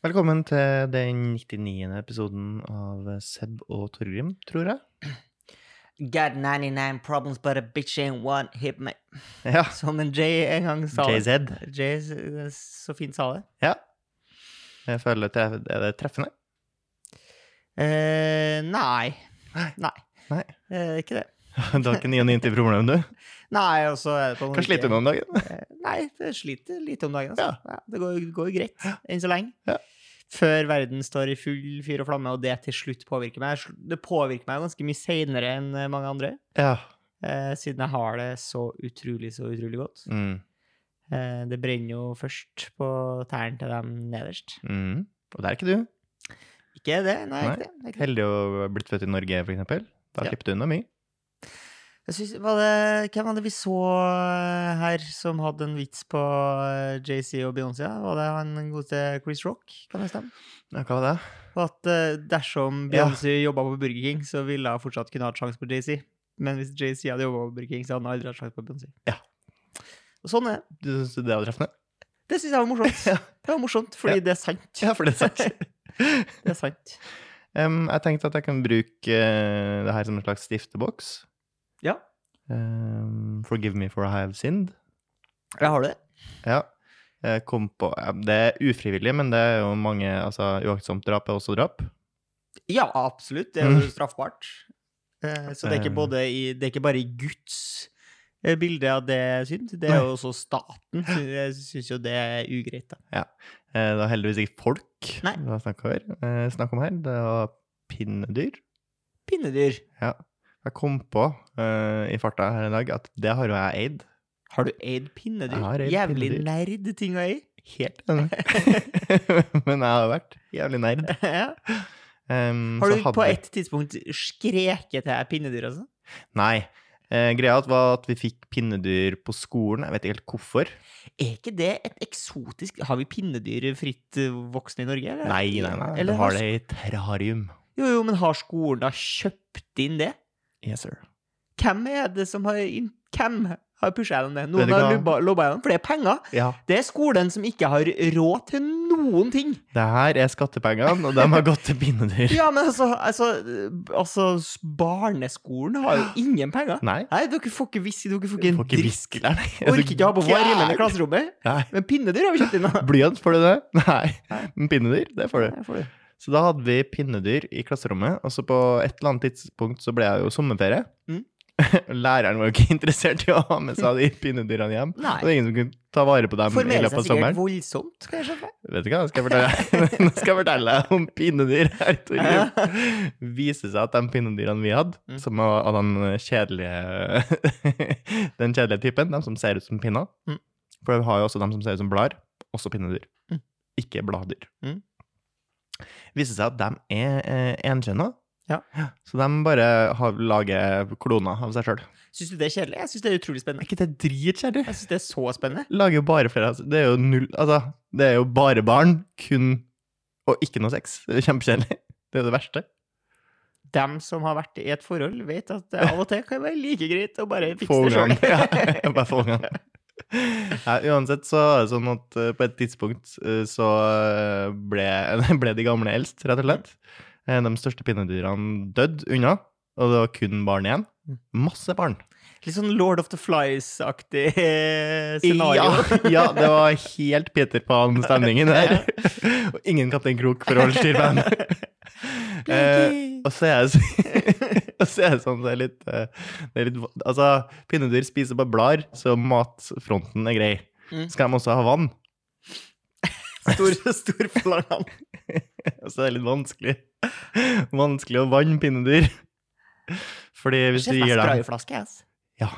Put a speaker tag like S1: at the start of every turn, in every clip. S1: Velkommen til den 99. episoden av Seb og Torgrim, tror jeg.
S2: Got 99 problems, but a bitch ain't one hit me.
S1: Ja,
S2: Som en Jay en gang sa. det.
S1: JZ.
S2: Jay s- eh, så fint sa det.
S1: Ja. Jeg føler at jeg, er det treffende?
S2: Eh, nei.
S1: Nei.
S2: Nei.
S1: Nei.
S2: Eh, ikke det.
S1: Du har ikke 99 problem, du?
S2: Nei, og så er det på en
S1: Hva sliter du med om dagen?
S2: Eh, Nei, jeg sliter lite om dagen. Altså. Ja. det går, går jo greit enn så lenge.
S1: Ja.
S2: Før verden står i full fyr og flamme, og det til slutt påvirker meg. Det påvirker meg ganske mye seinere enn eh, mange andre,
S1: Ja.
S2: eh, siden jeg har det så utrolig, så utrolig godt.
S1: Mm.
S2: Eh, det brenner jo først på tærne til dem nederst.
S1: Mm. Og der er ikke du.
S2: Ikke det, nei,
S1: Nei.
S2: ikke det. det er Ikke det.
S1: Heldig å ha blitt født i Norge, for eksempel. Da
S2: Ja.
S1: slipper du unna mye.
S2: Jeg synes, var det, hvem var det vi så eh, her som hadde en vits på eh, JC og Beyoncé? da? Var det han godeste Chris Rock? Kan det stemme?
S1: Ja, hva var det?
S2: Og at eh, dersom
S1: Ja.
S2: Beyoncé jobba på Burger King, så ville hun fortsatt kunne hatt sjanse på JC. Men hvis JC hadde jobba på Burger King, så hadde han aldri hatt sjanse på Beyoncé.
S1: Ja.
S2: Og sånn er det.
S1: Du synes det var treffende?
S2: Det syns jeg var morsomt. Det var morsomt, fordi det er sant.
S1: Ja, for det er sant.
S2: Det er sant.
S1: Em, jeg tenkte at jeg kan bruke eh, det her som en slags stifteboks.
S2: Ja.
S1: Em, forgive me for I have sinned.
S2: Jeg har det.
S1: Ja. Jeg kom på ja, Det er ufrivillig, men det er jo mange altså, Uaktsomt drap er også drap.
S2: Ja, absolutt. Det er jo straffbart. Eh, Så
S1: Mm. Eh.
S2: det er, ikke både i, det er ikke bare i Guds eh, bilde av det er synd, det
S1: Nei.
S2: er jo også staten. sy- Jeg syns jo det er ugreit, da.
S1: Eh, Det var heldigvis ikke folk
S2: Nei.
S1: det var snakk om her. Eh, Snakk om her. Det var pinnedyr.
S2: Pinnedyr.
S1: Ja. Jeg kom på eh, i farta her i dag at det har jo jeg eid.
S2: Har du eid pinnedyr?
S1: Jeg har eid
S2: Jævlig
S1: pinnedyr.
S2: nerd ting å eie.
S1: Helt enig. men jeg har vært jævlig nerd.
S2: Ja.
S1: Em, Mm.
S2: Har
S1: så
S2: du
S1: hadde
S2: på
S1: jeg-
S2: et tidspunkt skreket til deg pinnedyr, altså?
S1: Nei. Eh, greia var at vi fikk pinnedyr på skolen. Jeg vet ikke helt hvorfor.
S2: Er ikke det et eksotisk Har vi pinnedyr fritt eh, voksne i Norge, eller?
S1: Nei, nei, nei.
S2: Eller
S1: Du har det i terrarium.
S2: Jo, jo, men har skolen da kjøpt inn det?
S1: Yes, sir.
S2: Hvem er det som har inn- Hvem har pusha gjennom det?
S1: Vet
S2: Noen
S1: du
S2: har
S1: hva?
S2: lubba- lobba gjennom, for det er penger.
S1: Ja.
S2: Det er skolen som ikke har råd til noen ting.
S1: Det her er skattepengene, og de har gått til pinnedyr.
S2: Ja, men altså, altså, eh, altså s- Barneskolen har jo ingen penger.
S1: Nei.
S2: Nei, dere får ikke viss, dere får ikke
S1: Du
S2: en
S1: får ikke
S2: dritt.
S1: viske der, nei. Er du
S2: Orker ikke ha på varmen i
S1: gæren?
S2: klasserommet.
S1: Nei.
S2: Men pinnedyr har vi kjøpt inn. da.
S1: Blyant, får du det? Nei. Men pinnedyr, det får du.
S2: Der får du.
S1: Så da hadde vi pinnedyr i klasserommet, og så på et eller annet tidspunkt så ble jeg jo sommerferie.
S2: Mm.
S1: Læreren var jo ikke interessert i å ha med seg de pinnedyrene hjem.
S2: Nei.
S1: Og det var ingen som kunne ta vare på dem i
S2: Formere
S1: løpet
S2: seg
S1: av
S2: sikkert
S1: sommeren.
S2: voldsomt, kan jeg skjønne.
S1: Vet du hva, skal jeg fortelle deg, nå skal jeg fortelle deg om pinnedyr her, Torgrim. Viste seg at de pinnedyrene vi hadde,
S2: Mm.
S1: som var av den kjedelige, den kjedelige typen, de som ser ut som pinner,
S2: Mm.
S1: for vi har jo også de som ser ut som blader, også pinnedyr.
S2: Mm.
S1: Ikke bladdyr.
S2: Mm.
S1: Viste seg at de er eh, enkjønna,
S2: Ja.
S1: så de bare har, lager kloner av seg selv.
S2: Syns du det er kjedelig? Jeg syns det er utrolig
S1: Er
S2: spennende.
S1: ikke det dritkjedelig?
S2: Jeg syns det er så spennende.
S1: Lager jo bare flere altså. Det er jo null Altså, det er jo bare barn, kun Og ikke noe sex. Det er jo kjempekjedelig. Det er jo det verste.
S2: Dem som har vært i et forhold, vet at det av og til kan være like greit å bare fikse
S1: Få
S2: det sjøl.
S1: ungene. Ja, bare få ungene. Ja, uansett så er det sånn at eh, på et tidspunkt eh, så eh, ble, ble de gamle eldst, rett og slett. Eh, De største pinnedyrene døde unna, og det var kun barn igjen.
S2: Mm.
S1: Masse barn.
S2: Litt sånn Lord of the Flies-aktig eh, scenario.
S1: Ja, ja, det var helt Peter Pan-stemningen der. Og ingen Kaptein Krok for å holde styr på dem. Eh, og så er det så- og så er det sånn det er litt, eh, det er litt Altså, pinnedyr spiser bare blader, så matfronten er grei.
S2: Mm.
S1: Skal de også ha vann?
S2: Eh, Stor, stor flangan.
S1: Og så er det litt vanskelig. Vanskelig å vanne pinnedyr. Fordi hvis du gir dem
S2: sprayflaske, ass.
S1: Ja,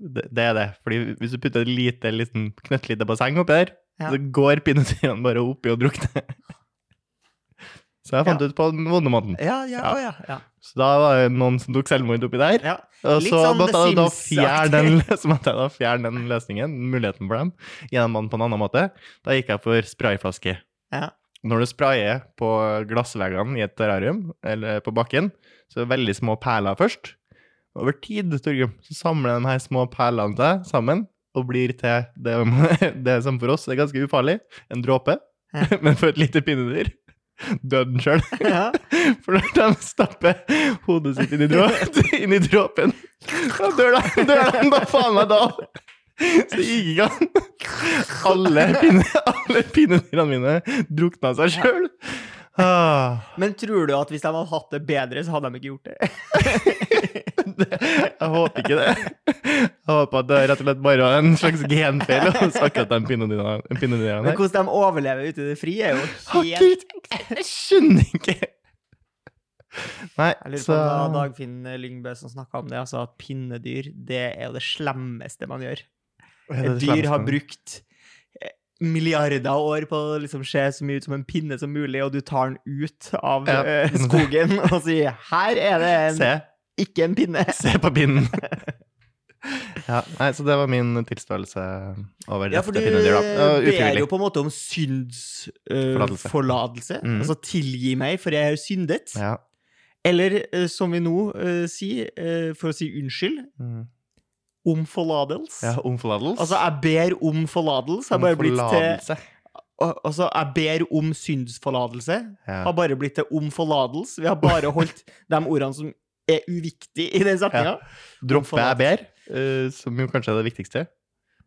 S1: det det er det. Fordi hvis du putter et lite, liten knøttlite basseng oppi der,
S2: Ja.
S1: så går pinnedyrene bare oppi og drukner. Så jeg fant ut på den vonde måten.
S2: Ja, ja, å ja. ja.
S1: Så da var det noen som tok selvmord oppi der.
S2: ja.
S1: Og
S2: Litt
S1: så
S2: sånn
S1: måtte
S2: The
S1: jeg da
S2: Sims-aktig.
S1: fjerne den, så måtte jeg da fjerne den løsningen, muligheten for dem, gjennom den på en annen måte. Da gikk jeg for sprayflaske.
S2: Ja.
S1: Når du sprayer på glassveggene i et terrarium, eller på bakken, så er det veldig små perler først. Over tid, Torgrim, så samler de her små perlene seg sammen, og blir til det, det som for oss er ganske ufarlig, en dråpe. men for et lite pinnedyr. Døde den sjøl.
S2: Ja.
S1: For når de stapper hodet sitt inn i, dråp, inn i dråpen, da dør de- dør de bare faen meg da. Så gikk ikke han. Alle, pinne, alle pinnedyrene mine drukna seg sjøl. Ah,
S2: Men tror du at hvis de hadde hatt det bedre, så hadde de ikke gjort det?
S1: det- jeg håper ikke det. Jeg håper at det er rett og slett bare en slags genfeil hos akkurat de pinnedyrene pinnedyrene
S2: Men
S1: her.
S2: hvordan de overlever ute i det frie, er jo
S1: Har
S2: helt
S1: ikke- Jeg skjønner ikke. Nei,
S2: Jeg lurer på
S1: så
S2: om det var Dagfinn Lyngbø som snakka om det, altså at pinnedyr, det er jo det slemmeste man gjør.
S1: Er det det
S2: Et dyr har
S1: slemmeste?
S2: brukt eh, milliarder av år på å liksom se så mye ut som en pinne som mulig, og du tar den ut av
S1: Ja.
S2: eh, skogen og sier 'her er det en,
S1: Se.
S2: ikke en pinne'.
S1: Se på pinnen. Ja, nei, så det var min tilståelse over
S2: Ja,
S1: dette
S2: for du
S1: pinnedyr, da. Og
S2: ber
S1: Ufrivillig.
S2: jo på en måte om syndsforlatelse.
S1: Forlatelse.
S2: forlatelse.
S1: Mhm.
S2: Altså 'tilgi meg, for jeg har syndet'.
S1: Ja.
S2: Eller eh, som vi nå eh, sier, eh, for å si unnskyld,
S1: Mm.
S2: om forlatelse.
S1: ja om forlatelse.
S2: Altså, jeg ber om forlatelse. Har bare blitt til
S1: Forlatelse.
S2: al- Altså, jeg ber om syndsforlatelse.
S1: Ja.
S2: Har bare blitt til om forlatelse. Vi har bare holdt de ordene som er uviktige i den setninga.
S1: Droppe jeg ber, eh, som jo kanskje er det viktigste.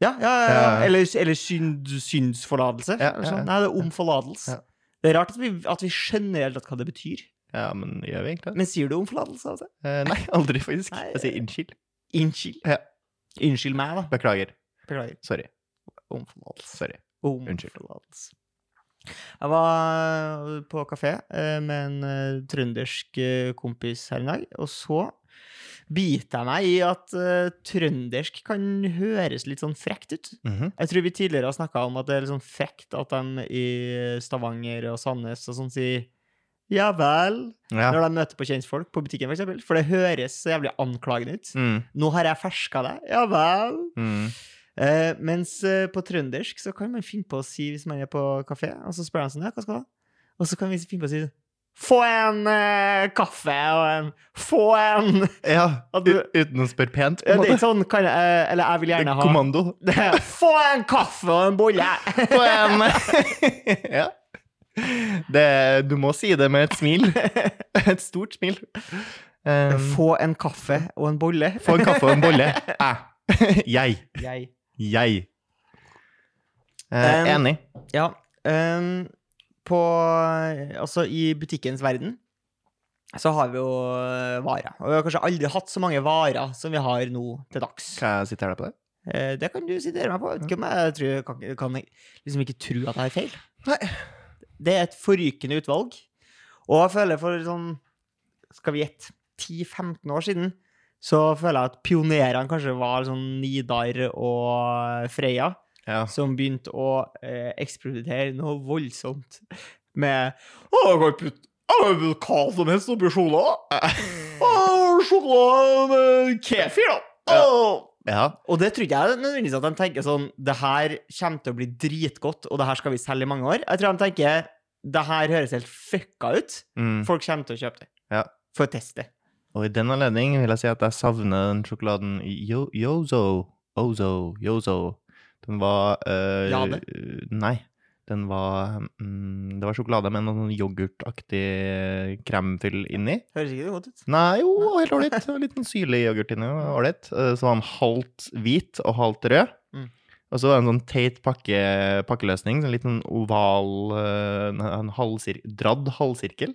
S2: Ja, ja, ja, ja.
S1: Ja.
S2: Eller, eller synd, syndsforlatelse.
S1: Ja,
S2: eller
S1: ja,
S2: sånn.
S1: ja.
S2: Nei, det er om forlatelse.
S1: Ja.
S2: Det er rart at vi, at vi skjønner helt hva det betyr.
S1: Ja, men gjør vi egentlig det?
S2: Men sier du om forlatelse? Altså?
S1: Eh, nei, aldri, faktisk.
S2: Nei.
S1: Jeg sier unnskyld.
S2: Unnskyld.
S1: Ja.
S2: Unnskyld meg, da.
S1: Beklager.
S2: Beklager.
S1: Sorry.
S2: Om forlatelse.
S1: Sorry.
S2: Om
S1: Unnskyld.
S2: forlatelse. Jeg var på kafé eh, med en eh, trøndersk eh, kompis her en dag, og så biter jeg meg i at eh, trøndersk kan høres litt sånn frekt ut.
S1: Mhm.
S2: Jeg tror vi tidligere har snakka om at det er litt sånn frekt at de i Stavanger og Sandnes og sånn sier ja vel,
S1: Ja.
S2: når de møter på kjentfolk på butikken, for eksempel. For det høres så jævlig anklagende ut.
S1: Mm.
S2: Nå har jeg ferska deg. Ja vel.
S1: Mm.
S2: Eh, mens eh, på trøndersk så kan man finne på å si hvis man er på kafé, og så spør han sånn, ja, hva skal du ha? Og så kan vi finne på å si få en eh, kaffe og en få en
S1: ja.
S2: At
S1: U
S2: du-
S1: uten å spørre pent, på
S2: Ja,
S1: en måte.
S2: Det er ikke sånn kan jeg, eh, Eller jeg vil gjerne ha
S1: Kommando.
S2: Få en kaffe og en bolle!
S1: På en Ja. Det, du må si det med et smil. Et stort smil. Um,
S2: Få en kaffe og en bolle.
S1: Få en kaffe og en bolle. Jeg. Jeg.
S2: Jeg.
S1: Jeg. Eh,
S2: Um,
S1: enig.
S2: Ja. ehm, på Altså, i butikkens verden så har vi jo eh, varer. Og vi har kanskje aldri hatt så mange varer som vi har nå til dags.
S1: Skal jeg sitere deg på det?
S2: Eh, Det kan du sitere meg på. Jeg vet ikke om jeg tror, jeg kan, kan jeg liksom ikke tro at jeg har feil.
S1: Nei.
S2: Det er et forrykende utvalg. Og jeg føler for sånn Skal vi gjette 10-15 år siden, så føler jeg at pionerene kanskje var sånn Nidar og Freya,
S1: Ja.
S2: som begynte å eh, eksperimentere noe voldsomt med Å, jeg kan putte jeg kan putte hva som helst oppi sjokolade.
S1: Mm.
S2: Å, Sjokolade med kefir, da. Å,
S1: ja.
S2: og det tror ikke jeg nødvendigvis at de tenker sånn Det her kommer til å bli dritgodt, og det her skal vi selge i mange år. Jeg tror de tenker det her høres helt fucka ut.
S1: Mm.
S2: Folk kommer til å kjøpe det.
S1: Ja.
S2: For å teste.
S1: Og i den anledning vil jeg si at jeg savner den sjokoladen i Yo Yozo. Ozo. Yozo. Den var eh,
S2: Jade?
S1: Nei. Den var mm, Det var sjokolade med noe sånn yoghurtaktig eh, kremfyll inni.
S2: Høres ikke det godt ut?
S1: Nei, jo, helt ålreit. Det var Litt sånn syrlig yoghurt inni. og Ålreit. Eh, Så var den halvt hvit og halvt rød.
S2: Mm.
S1: Og så var det en sånn teit pakke, pakkeløsning. En liten oval eh, en- En halvsir dradd halvsirkel.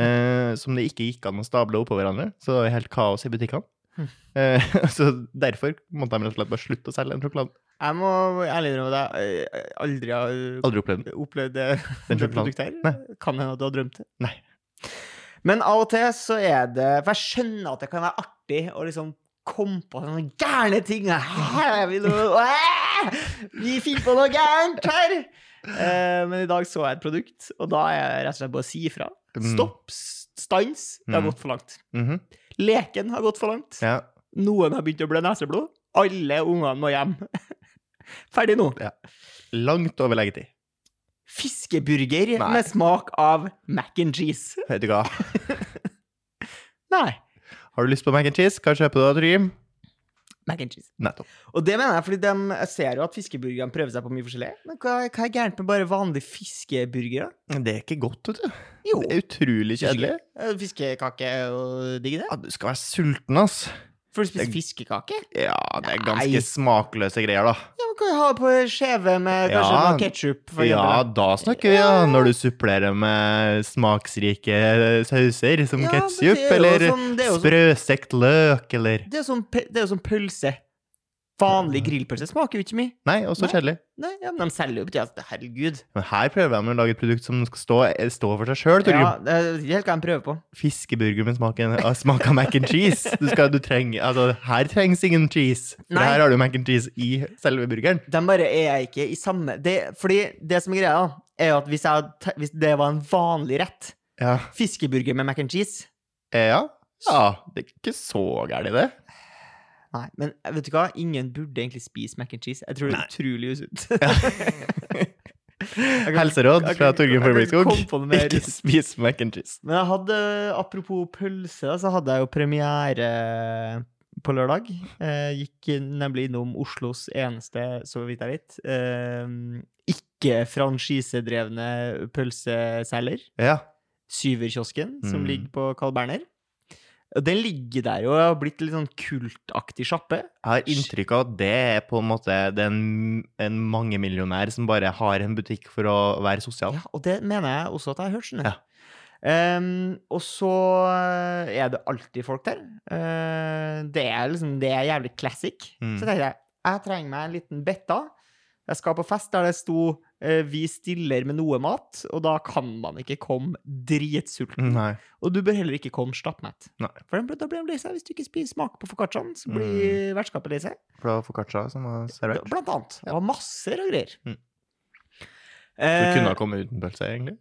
S1: Eh, som det ikke gikk an å stable oppå hverandre. Så det var helt kaos i butikkene.
S2: Hm.
S1: Eh, så derfor måtte de rett og slett bare slutte å selge den sjokoladen.
S2: Jeg må ærlig innrømme at jeg eh, aldri har
S1: Aldri opplevd den.
S2: opplevd det,
S1: Den
S2: det
S1: sjokoladen.
S2: produktet her.
S1: Nei.
S2: Kan hende at du har drømt det.
S1: Nei.
S2: Men av og til så er det For jeg skjønner at det kan være artig å liksom komme på sånne gærne ting. Her er vi nå. Æ! Vi finner på noe gærent her! Eh, men i dag så jeg et produkt, og da er jeg rett og slett bare å si ifra.
S1: Mm.
S2: Stopp, s- stans. Det har
S1: Mm.
S2: gått for langt.
S1: Mhm.
S2: Leken har gått for langt.
S1: Ja.
S2: Noen har begynt å blø neseblod. Alle ungene må hjem. Ferdig nå.
S1: Langt over leggetid.
S2: Fiskeburger
S1: Nei.
S2: med smak av mac and cheese.
S1: Vet du hva.
S2: Nei.
S1: Har du lyst på mac and cheese? Hva kjøper du da, Trym?
S2: mac and cheese.
S1: Nettopp.
S2: Og det mener jeg, fordi de, jeg ser jo at fiskeburgerne prøver seg på mye forskjellig. Men hva, hva er gærent med bare vanlige fiskeburgere?
S1: Men Det er ikke godt, vet du.
S2: Jo,
S1: Det er utrolig kjedelig.
S2: Eh, Fiskekake og digg det.
S1: Ja, du skal være sulten, ass.
S2: For du spiser fiskekake?
S1: Ja, det er
S2: Nei.
S1: ganske smakløse greier, da.
S2: Ja, man kan jo ha på skjeve med kanskje
S1: Ja.
S2: noe ketchup. For
S1: Ja,
S2: eksempel,
S1: da snakker vi, ja. Når du supplerer med smaksrike eh, sauser som
S2: Ja, men
S1: ketsjup,
S2: det er jo
S1: eller
S2: sånn- det er jo sånn-
S1: sprøstekt løk, eller
S2: da. Det er jo som, pe- det er jo som pølse. Vanlig grillpølse smaker jo ikke mye.
S1: Nei, også
S2: Nei.
S1: kjedelig.
S2: Nei, ja, men de selger jo ikke det. altså. Herregud.
S1: Men her prøver de å lage et produkt som skal stå, eh, stå for seg sjøl, Torgrim.
S2: Ja, det er helt hva de prøver på.
S1: Fiskeburger med smaken, av- smak av mac and cheese. Du skal, du trenger, altså, her trengs ingen cheese. For
S2: Nei.
S1: her har du mac and cheese i selve burgeren.
S2: De bare er ikke i samme det, Fordi det som er greia, da, er jo at hvis, jeg, hadde te- hvis det var en vanlig rett,
S1: Ja.
S2: fiskeburger med mac and cheese
S1: Eh, ja. ja. Det er ikke så gærent, det.
S2: Nei, men eh, vet du hva? Ingen burde egentlig spise mac and cheese. Jeg tror det er utrolig usunt. kan-
S1: Helseråd
S2: jeg
S1: fra
S2: kan-
S1: Torgrim
S2: jeg kan
S1: Forbrekskog.
S2: komme på noe mer.
S1: Ikke spis mac and cheese.
S2: Men jeg hadde, eh, apropos pølse, da, så hadde jeg jo premiere på lørdag. Eh, gikk nemlig innom Oslos eneste, så vidt jeg vet, eh, ikke-franchisedrevne pølseselger.
S1: Ja.
S2: Syverkiosken, som
S1: Mm.
S2: ligger på Carl Berner. Og Den ligger der og har blitt litt sånn kultaktig sjappe.
S1: Jeg har inntrykk av at det er på en måte det er en, en mangemillionær som bare har en butikk for å være sosial.
S2: Ja, og det mener jeg også at jeg har hørt. skjønner du.
S1: Ja.
S2: Ehm, og så eh, er det alltid folk der. Eh, det er liksom, det er jævlig classic.
S1: Mm.
S2: Så tenkte jeg jeg trenger meg en liten betta. Jeg skal på fest der det sto eh, 'Vi stiller med noe mat', og da kan man ikke komme dritsulten.
S1: Mm, Nei.
S2: Og du bør heller ikke komme stappmett.
S1: Nei.
S2: For da blir- da blir de lei seg. Hvis du ikke spiser smak på foccacciaen, så
S1: Mm.
S2: blir vertskapet lei seg.
S1: For det var foccaccia som var servert.
S2: Blant annet. Det var masser av greier.
S1: Mm. Du
S2: Eh,
S1: kunne ha kommet uten pølse, egentlig.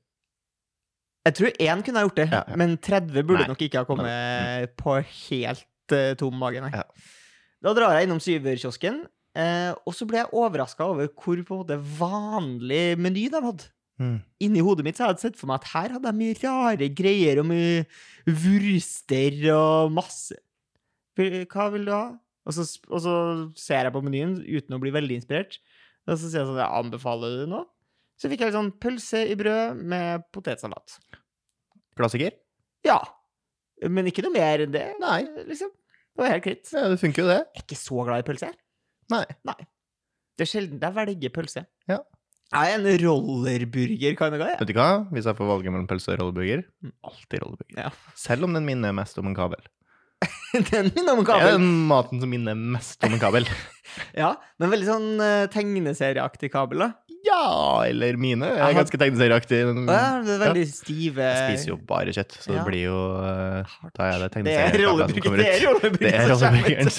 S2: Jeg tror én kunne ha gjort det,
S1: Ja, ja.
S2: men 30 burde
S1: Nei. Mm.
S2: nok ikke ha kommet på helt eh, tom mage, nei.
S1: Ja.
S2: Da drar jeg innom Syverkiosken, eh, og så ble jeg overraska over hvor på en måte vanlig meny de hadde.
S1: Mm.
S2: Inni hodet mitt så hadde jeg sett for meg at her hadde de mye rare greier og mye vurster og masse Vil- Hva vil du ha? Og så, sp- og så ser jeg på menyen uten å bli veldig inspirert. Og så sier jeg sånn, jeg anbefaler du noe? Så fikk jeg sånn pølse i brød med potetsalat.
S1: Klassiker.
S2: Ja. Men ikke noe mer enn det. Nei. Liksom. Det var helt greit.
S1: Ja, det funker jo, det.
S2: Jeg er ikke så glad i pølse.
S1: Nei.
S2: Det er sjelden jeg velger pølse.
S1: Ja.
S2: Jeg er en rollerburger kind of guy. jeg.
S1: Vet du hva? Hvis jeg får valget mellom pølse og rolleburger,
S2: Mm.
S1: alltid rolleburger.
S2: Ja.
S1: Selv om den minner mest om en kabel.
S2: Den minner om
S1: Det er
S2: kabel.
S1: den maten som minner mest om en kabel.
S2: Ja, men veldig sånn eh, tegneserieaktig kabel, da.
S1: ja, eller mine. Ah. Jeg
S2: Jeg
S1: er
S2: har-
S1: ganske tegneserieaktig. men-
S2: Og ja, det er veldig stive
S1: Mm. Jeg spiser jo bare kjøtt, så
S2: Ja.
S1: det blir jo eh, Da er det
S2: Det er
S1: tegneseriekabler som
S2: rollerburger.
S1: kommer
S2: Det er
S1: ut.
S2: rollerburger.
S1: Det er altså
S2: som kommer ut.
S1: rolleburgeren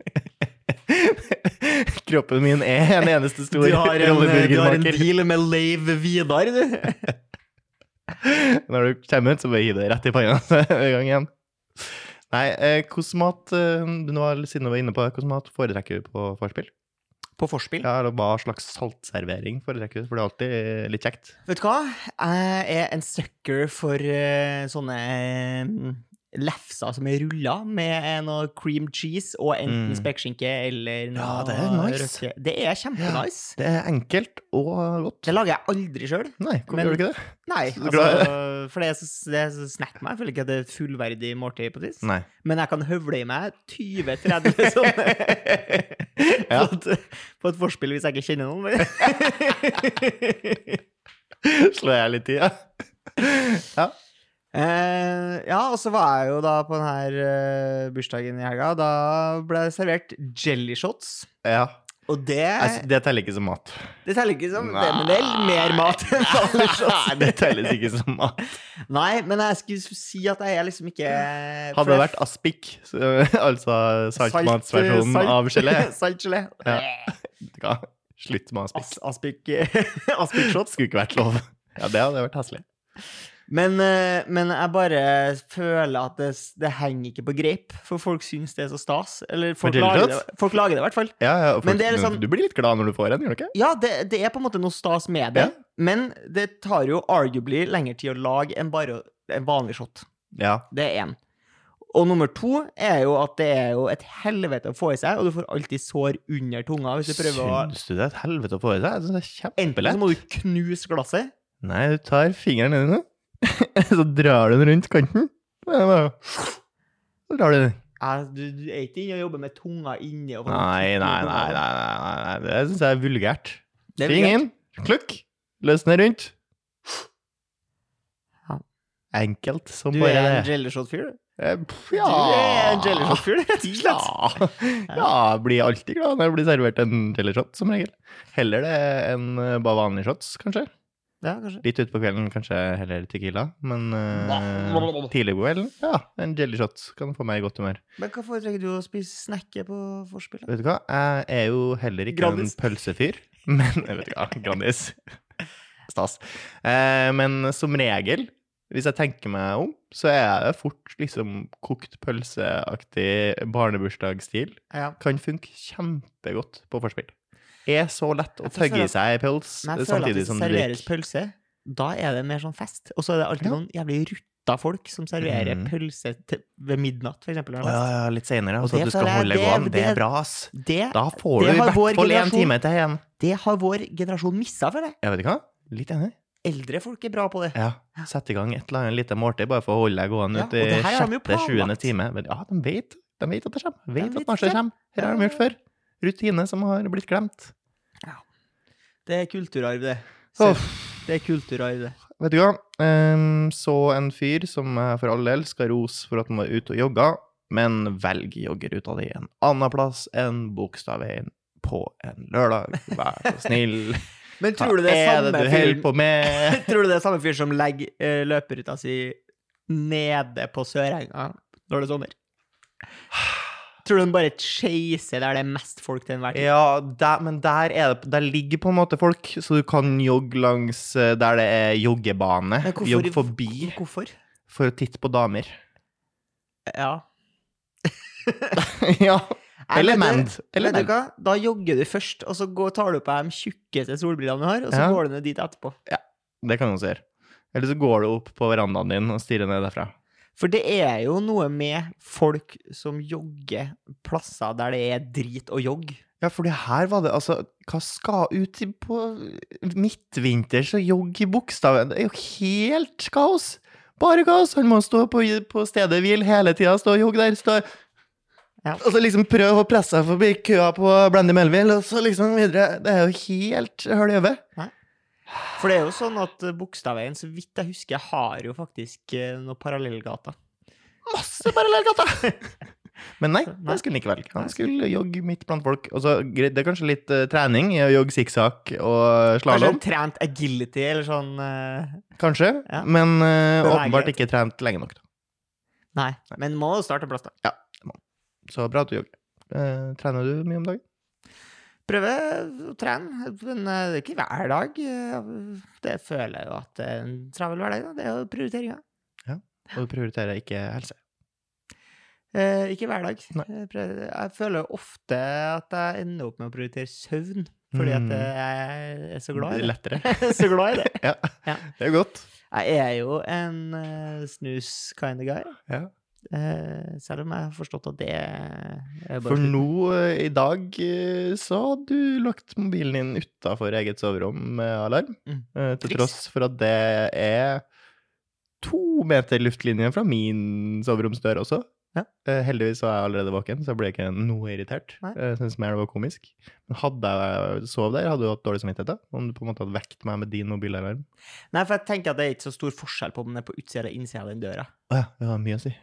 S1: som kommer ut. Kroppen min er en eneste stor
S2: Du har en, du har en
S1: rolleburgermaker.
S2: deal med Leiv Vidar, du.
S1: Når du kommer ut, så bare hiv deg rett i panna en gang igjen. Nei, eh, hvordan mat eh, du nå var- Siden du var inne på det, hvordan mat foretrekker du på vorspiel?
S2: På forspill.
S1: Ja, eller hva slags saltservering foretrekker du? For det er alltid eh, litt kjekt.
S2: Vet du hva? Jeg er en sucker for eh, sånne eh, lefser som er rulla med eh, noe cream cheese og enten
S1: Mm.
S2: spekeskinke eller noe
S1: Ja, det er nice.
S2: røkke. Det er kjempenice.
S1: Det er enkelt og godt.
S2: Det lager jeg aldri sjøl.
S1: Nei, hvorfor
S2: Men-
S1: gjør du ikke det?
S2: Nei,
S1: Så du klarer det?
S2: altså, for det er så- det er så snack meg. Jeg føler ikke at det er et fullverdig måltid på tis.
S1: Nei.
S2: Men jeg kan høvle i meg 20-30 sånne
S1: Ja.
S2: på, et, på et forspill hvis jeg ikke kjenner noen.
S1: Slår jeg litt i, ja. ja.
S2: Eh, ja, og så var jeg jo da på denne bursdagen i helga. Da ble det servert jelly shots.
S1: ja.
S2: Og det
S1: Altså, det teller ikke som mat.
S2: Det teller ikke som det, men det Eh. er mer mat enn vanlig
S1: Nei,
S2: shots.
S1: det telles ikke som mat.
S2: Nei, men jeg skulle si at jeg er liksom ikke for
S1: Hadde det
S2: jeg-
S1: vært aspik, så- altså
S2: Salt-
S1: saltmatsversjonen
S2: salt-
S1: av gelé
S2: Saltgelé.
S1: ja. Slutt med aspik.
S2: As, aspik Aspik shots.
S1: Skulle ikke vært lov. Ja, det hadde vært heslig.
S2: Men, eh, men jeg bare føler at det, det henger ikke på greip, for folk syns det er så stas. Eller folk
S1: jelly
S2: lager
S1: shots?
S2: det, folk lager det i hvert fall.
S1: Ja, ja, og
S2: Men
S1: folk-
S2: det er liksom-
S1: Du blir litt glad når du får en, gjør du ikke?
S2: Ja, det, det er på en måte noe stas med det,
S1: Ja.
S2: men det tar jo arguably lengre tid å lage enn bare å- en vanlig shot.
S1: Ja.
S2: Det er én. Og nummer to er jo at det er jo et helvete å få i seg, og du får alltid sår under tunga hvis du prøver å
S1: Syns du det er et helvete å få i seg? Jeg synes det er
S2: Enten så
S1: kjempelett.
S2: må du knuse glasset,
S1: Nei, du tar fingeren din, nå, så drar du den rundt kanten. Så er det bare- Så drar du den.
S2: Ja, du, du er ikke inne og jobber med tunga inni og
S1: Nei, nei, nei, nei, nei, nei, nei. det syns jeg er vulgært.
S2: Det er
S1: Fing inn, klukk, løsne rundt.
S2: Ja.
S1: Enkelt som
S2: Du er
S1: bare
S2: en
S1: det.
S2: jellyshot-fyr, du.
S1: Eh, pff, Ja.
S2: Du er en jellyshot-fyr, rett og
S1: Ja.
S2: slett.
S1: ja, jeg blir alltid glad når jeg blir servert en jellyshot, som regel. Heller det enn eh, bare vanlige shots, kanskje.
S2: Ja, kanskje.
S1: Litt utpå kvelden kanskje heller Tequila, men uh,
S2: Blablabla.
S1: tidlig på kvelden, ja, en jellyshot kan få meg i godt humør.
S2: Men hva foretrekker du å spise snacker på forspill? da?
S1: Vet du hva, jeg er jo heller ikke
S2: Grandis.
S1: en pølsefyr, men jeg vet ikke, hva, Grandis. Stas. Eh, men som regel, hvis jeg tenker meg om, så er det fort liksom kokt pølseaktig barnebursdagsstil.
S2: Ja.
S1: Kan funke kjempegodt på forspill. Er så lett å
S2: Jeg føler
S1: tøgge i seg pels
S2: Men jeg føler at
S1: samtidig
S2: hvis det
S1: som du
S2: serveres
S1: drikker.
S2: pølse, da er det mer sånn fest. Og så er det alltid
S1: Ja.
S2: noen jævlig rutta folk som serverer
S1: Mm.
S2: pølse til, ved midnatt, for eksempel. når
S1: Å
S2: det er
S1: ja,
S2: fest.
S1: ja, litt seinere.
S2: Og
S1: Altså
S2: det
S1: at du skal
S2: føler jeg-
S1: holde
S2: det-
S1: gåen. Det
S2: det-
S1: er bra, ass.
S2: Det,
S1: Da får du
S2: det
S1: i
S2: har
S1: hvert
S2: vår
S1: fall én
S2: generasjon-
S1: time til igjen.
S2: det har vår generasjon missa, føler jeg.
S1: Jeg vet ikke hva. Litt enig.
S2: Eldre folk er bra på det.
S1: Ja. Sette i gang et eller annet lite måltid, bare for å holde deg gående
S2: Ja,
S1: ut
S2: og det
S1: i
S2: her har de jo
S1: sjette, sjuende
S2: planlagt.
S1: time. Men ja, de vet, de vet at det kommer.
S2: De
S1: Vet
S2: vet
S1: at nachspiel
S2: det.
S1: kommer. Her har de gjort før. Rutine som har blitt glemt.
S2: Det er kulturarv, det. Så,
S1: Uff.
S2: det er kulturarv, det.
S1: Vet du hva? Ehm, så en fyr som eh, for all del skal rose for at han var ute og jogga, men velg joggeruta di en annen plass enn Bogstadveien på en lørdag. Vær så snill.
S2: Men
S1: Hva
S2: tror du det er,
S1: er det
S2: samme
S1: du holder
S2: fyren-
S1: på med?
S2: Tror du det er samme fyr som legger eh, løperuta si nede på Sørenga når det er sommer? Tror du han bare chaser der det er mest folk til enhver tid?
S1: Ja, der, men der, er det, der ligger på en måte folk, så du kan jogge langs eh, der det er joggebane.
S2: Men hvorfor-
S1: Jogg forbi
S2: Hvorfor?
S1: for å titte på damer.
S2: Ja.
S1: ja. Eller
S2: Nei, vet
S1: menn.
S2: du-
S1: Eller
S2: Vet du
S1: menn.
S2: hva? Da jogger du først, og så går, tar du på deg de tjukkeste solbrillene du har, og så
S1: Ja.
S2: går du ned dit etterpå.
S1: Det kan du også gjøre. Eller så går du opp på verandaen din og stirrer ned derfra.
S2: For det er jo noe med folk som jogger plasser der det er drit å jogge.
S1: Ja, for det her var det Altså, hva skal ut i- på midtvinters og jogge i Bogstadveien? Det er jo helt kaos! Bare kaos! Han må stå på, på stedet hvil hele tida, stå og jogge der. Stå.
S2: Ja.
S1: Og så liksom prøve å presse seg forbi køa på Blendy Melville, og så liksom videre. Det er jo helt høl i øyet.
S2: For det er jo sånn at eh, Bogstadveien, så vidt jeg husker, har jo faktisk eh, noen parallellgater.
S1: Masse parallellgater! Men nei,
S2: Nei.
S1: det skulle han ikke velge. Han skulle jogge midt blant folk. Og så, greit, det er kanskje litt eh, trening i å jogge sikksakk og
S2: Kanskje
S1: slalåm.
S2: de trent agility eller sånn eh,
S1: Kanskje,
S2: Ja.
S1: men eh,
S2: Bevegelighet.
S1: åpenbart ikke trent lenge nok. da.
S2: Nei, men må jo starte en plass, da.
S1: Så bra at du jogger. Eh, trener du mye om dagen?
S2: Prøve å trene, men eh, det er ikke hver dag. eh, Det føler jeg jo at det er en travel hverdag, da. Det er jo prioriteringa.
S1: Og du prioriterer ikke helse?
S2: Eh, ikke hver dag.
S1: Nei.
S2: Jeg, prøver, jeg føler jo ofte at jeg ender opp med å prioritere søvn, fordi
S1: Mm.
S2: at jeg er så glad i det.
S1: Lettere.
S2: Jeg er så glad i det.
S1: ja.
S2: Ja.
S1: det er jo godt.
S2: Jeg er jo en eh, snus kind of guy.
S1: Ja.
S2: Eh, selv om jeg har forstått at det er bare
S1: For nå eh, i dag eh, så har du lagt mobilen din utafor eget soverom med alarm,
S2: Mm.
S1: eh, til
S2: Triks.
S1: tross for at det er to meter luftlinje fra min soveromsdør også.
S2: Ja.
S1: Eh, Heldigvis var jeg allerede våken, så jeg ble ikke noe irritert.
S2: Nei.
S1: Eh, Jeg synes mer det var komisk. Men hadde jeg sovet der, hadde du hatt dårlig samvittighet da? Om du på en måte hadde vekt meg med din mobilalarm?
S2: Nei, for jeg tenker at det er ikke så stor forskjell på om den er på utsida eller innsida av den døra.
S1: Å ja, det var mye å si.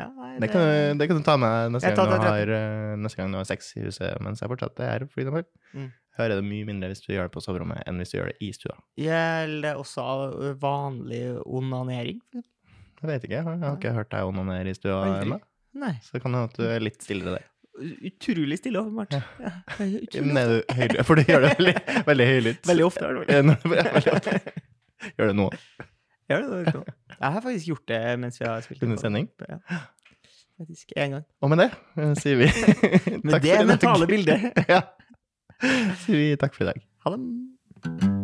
S2: Ja, nei,
S1: Det kan, du- det kan du ta med neste
S2: Jeg tar
S1: gang, du
S2: det, jeg
S1: har, eh, neste gang du har sex i huset mens jeg fortsatt er flydommer.
S2: Mm.
S1: Hører det mye mindre hvis du gjør det på soverommet enn hvis du gjør det i stua.
S2: Gjelder også av vanlig onanering?
S1: Jeg vet ikke, jeg har jeg har ikke hørt deg onanere i stua
S2: Aldri.
S1: ennå.
S2: Nei.
S1: Så kan det hende at du er litt stillere der.
S2: Utrolig stille, åpenbart. Ja. utrolig
S1: Nei, du, høylytt, for du gjør det veldig, veldig høylytt.
S2: Veldig ofte. er det vel.
S1: Eh, nå- veldig ofte. Gjør det nå,
S2: Gjør det, det, er sånn. Jeg har faktisk gjort det mens vi har spilt.
S1: under sending.
S2: Ja. Faktisk én gang.
S1: Og med det eh, sier vi takk
S2: det
S1: for i dag.
S2: mentale bildet.
S1: ja. Sier vi takk for i dag.
S2: Ha det.